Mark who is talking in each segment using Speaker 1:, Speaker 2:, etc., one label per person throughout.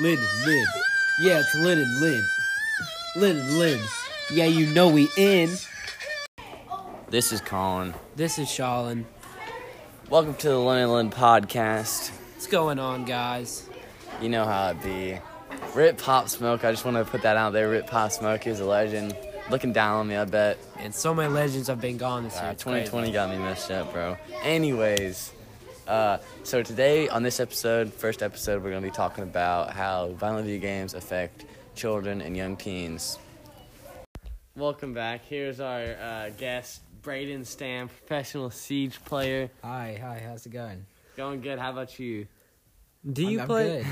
Speaker 1: Lid, lid. Yeah, it's lid and lid. Lid and lid. Yeah, you know we in.
Speaker 2: This is Colin.
Speaker 1: This is Shalin.
Speaker 2: Welcome to the London Lynn podcast.
Speaker 1: What's going on, guys?
Speaker 2: You know how it be. Rip Pop Smoke, I just want to put that out there. Rip Pop Smoke is a legend. Looking down on me, I bet.
Speaker 1: And so many legends have been gone this
Speaker 2: Uh,
Speaker 1: year. It's crazy.
Speaker 2: 2020 got me messed up, bro. Anyways, uh, so today on this episode, first episode, we're going to be talking about how violent video games affect children and young teens. Welcome back. Here's our uh, guest, Braden Stam, professional Siege player.
Speaker 3: Hi, hi, how's it going?
Speaker 2: Going good. How about you?
Speaker 1: Do you
Speaker 3: I'm- I'm
Speaker 1: play?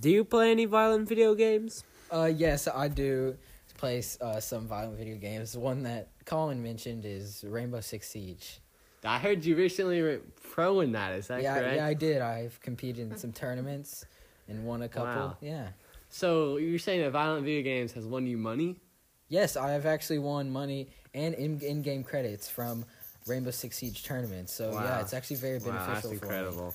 Speaker 1: Do you play any violent video games?
Speaker 3: good. Uh, yes, I do play uh, some violent video games. The one that Colin mentioned is Rainbow Six Siege.
Speaker 2: I heard you recently were pro in that. Is that
Speaker 3: yeah,
Speaker 2: correct?
Speaker 3: yeah, I did. I've competed in some tournaments and won a couple.
Speaker 2: Wow.
Speaker 3: Yeah.
Speaker 2: So you're saying that violent video games has won you money?
Speaker 3: Yes, I have actually won money and in- in-game credits from Rainbow Six Siege tournaments. So
Speaker 2: Wow.
Speaker 3: yeah, it's actually very beneficial. for me.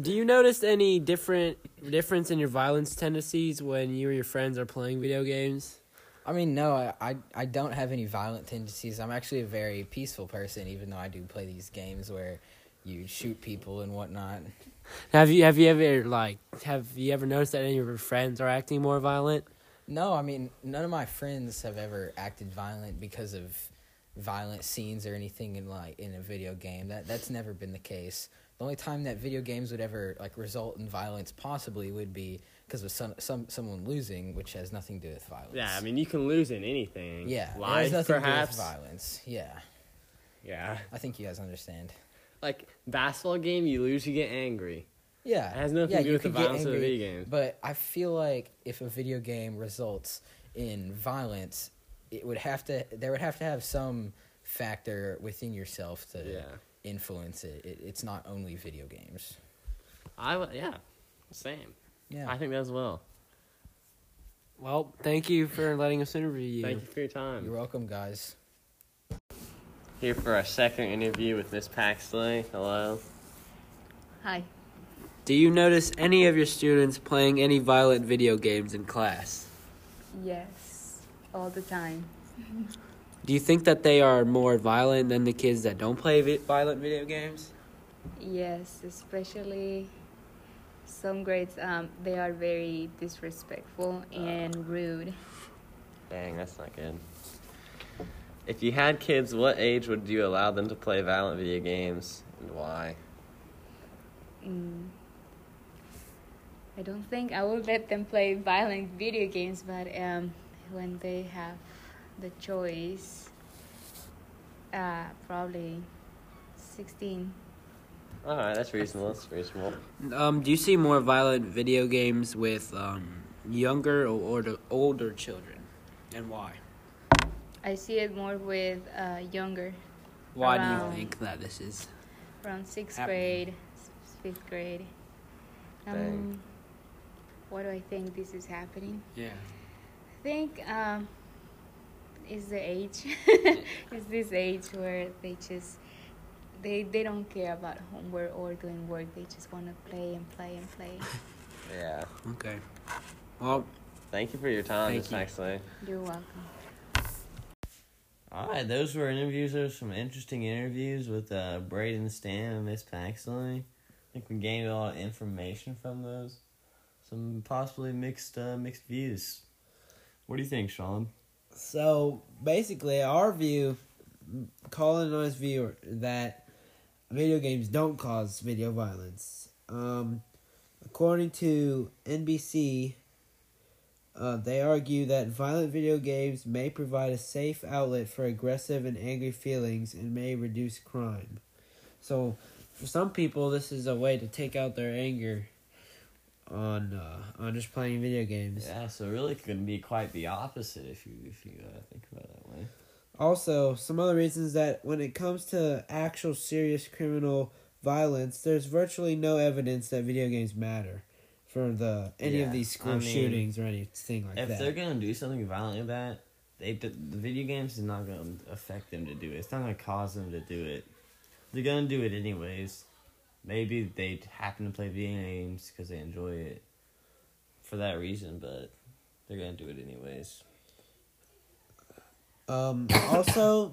Speaker 1: Do you notice any different difference in your violence tendencies when you or your friends are playing video games?
Speaker 3: I mean, no, I, I I don't have any violent tendencies. I'm actually a very peaceful person, even though I do play these games where you shoot people and whatnot.
Speaker 1: Have you have you ever like have you ever noticed that any of your friends are acting more violent?
Speaker 3: No, I mean none of my friends have ever acted violent because of violent scenes or anything in like in a video game. That that's never been the case. The only time that video games would ever like result in violence possibly would be because of some some someone losing, which has nothing to do with violence.
Speaker 4: Yeah, I mean, you can lose in anything.
Speaker 3: yeah, it has
Speaker 4: life
Speaker 3: nothing to
Speaker 4: perhaps.
Speaker 3: do with violence. Yeah,
Speaker 4: Yeah,
Speaker 3: I think you guys understand.
Speaker 4: like basketball game, you lose, you get angry.
Speaker 3: Yeah,
Speaker 4: It has nothing
Speaker 3: yeah,
Speaker 4: to do
Speaker 3: you
Speaker 4: with the
Speaker 3: could get
Speaker 4: violence of the
Speaker 3: angry,
Speaker 4: video games.
Speaker 3: But I feel like if a video game results in violence, it would have to. There would have to have some factor within yourself to
Speaker 4: Yeah.
Speaker 3: influence it. it. It's not only video games.
Speaker 4: I w- yeah, same.
Speaker 3: Yeah.
Speaker 4: I think that as well.
Speaker 1: Well, thank you for letting us interview you.
Speaker 4: Thank you for your time.
Speaker 3: You're welcome, guys.
Speaker 4: Here for our second interview with Miss Paxley. Hello.
Speaker 5: Hi.
Speaker 1: Do you notice any of your students playing any violent video games in class?
Speaker 5: Yes, all the time.
Speaker 1: Do you think that they are more violent than the kids that don't play vi- violent video games?
Speaker 5: Yes, especially some grades. Um, they are very disrespectful and rude.
Speaker 4: Dang, that's not good. If you had kids, what age would you allow them to play violent video games and why?
Speaker 5: Mm. I don't think I will let them play violent video games, but um, when they have the choice, uh, probably 16.
Speaker 4: All right, that's reasonable. That's reasonable.
Speaker 1: Um, do you see more violent video games with um, younger or older, older children, and why?
Speaker 5: I see it more with uh, younger,
Speaker 1: Why do you
Speaker 5: Around-
Speaker 1: think that this is?
Speaker 5: from sixth
Speaker 1: Happening.
Speaker 5: grade, s- fifth grade. Um,
Speaker 4: Dang.
Speaker 5: Why do I think this is happening?
Speaker 1: Yeah.
Speaker 5: I think um, is the age. it's this age where they just they they don't care about homework or doing work. They just want to play and play and play.
Speaker 4: Yeah.
Speaker 1: Okay. Well,
Speaker 4: Thank you for your time,
Speaker 1: Thank
Speaker 4: Miss
Speaker 1: you.
Speaker 4: Paxley.
Speaker 5: You're welcome.
Speaker 4: All right, those were interviews. Those were some interesting interviews with uh, Braden Stam and Miss Paxley. I think we gained a lot of information from those. Some possibly mixed uh, mixed views. What do you think, Sean?
Speaker 6: So basically, our view, Colin and I's view, are that video games don't cause video violence. Um, according to NBC, uh, they argue that violent video games may provide a safe outlet for aggressive and angry feelings and may reduce crime. So, for some people, this is a way to take out their anger on uh, on just playing video games.
Speaker 4: Yeah, so really it could be quite the opposite if you if you uh, think about it that way.
Speaker 6: Also, some other reasons that when it comes to actual serious criminal violence, there's virtually no evidence that video games matter for the any
Speaker 4: Yeah,
Speaker 6: of these school
Speaker 4: I mean,
Speaker 6: shootings or anything like
Speaker 4: if
Speaker 6: that.
Speaker 4: they're gonna do something violent like that, they d- the video games is not gonna affect them to do it. It's not gonna cause them to do it. They're gonna do it anyways. Maybe they happen to play video games because they enjoy it. for that reason, but they're gonna do it anyways.
Speaker 6: Um, also,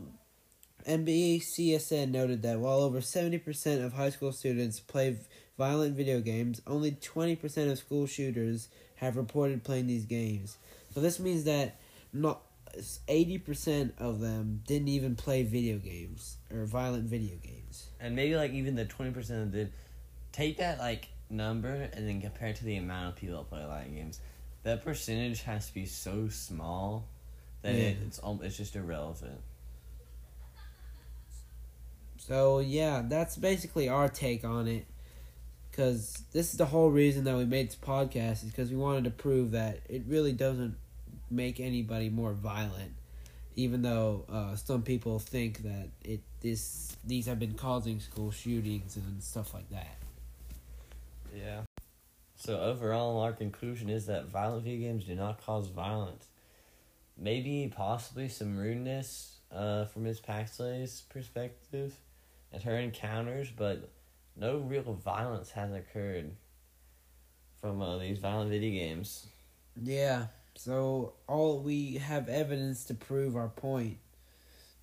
Speaker 6: NBA CSN noted that while over 70% of high school students play violent video games, only 20% of school shooters have reported playing these games. So this means that not 80% of them didn't even play video games or violent video games.
Speaker 4: And maybe like even the twenty percent that did take that like number and then compare it to the amount of people that play online games. That percentage has to be so small that
Speaker 6: Yeah.
Speaker 4: it, it's al- it's just irrelevant.
Speaker 6: So yeah, that's basically our take on it. Cause this is the whole reason that we made this podcast is because we wanted to prove that it really doesn't make anybody more violent, even though uh, some people think that it this these have been causing school shootings and stuff like that.
Speaker 4: Yeah. So overall, our conclusion is that violent video games do not cause violence. Maybe possibly some rudeness, uh, from Ms. Paxley's perspective, and her encounters, but no real violence has occurred from uh, these violent video games.
Speaker 6: Yeah. So all we have evidence to prove our point.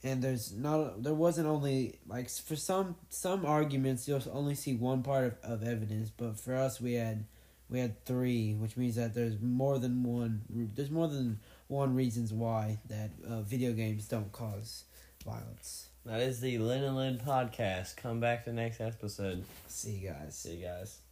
Speaker 6: And there's not there wasn't only like for some some arguments you'll only see one part of, of evidence, but for us we had we had three, which means that there's more than one re- there's more than one reasons why that uh, video games don't cause violence.
Speaker 4: That is the Lin and Lin podcast. Come back to the next episode.
Speaker 6: See you guys.
Speaker 4: See you guys.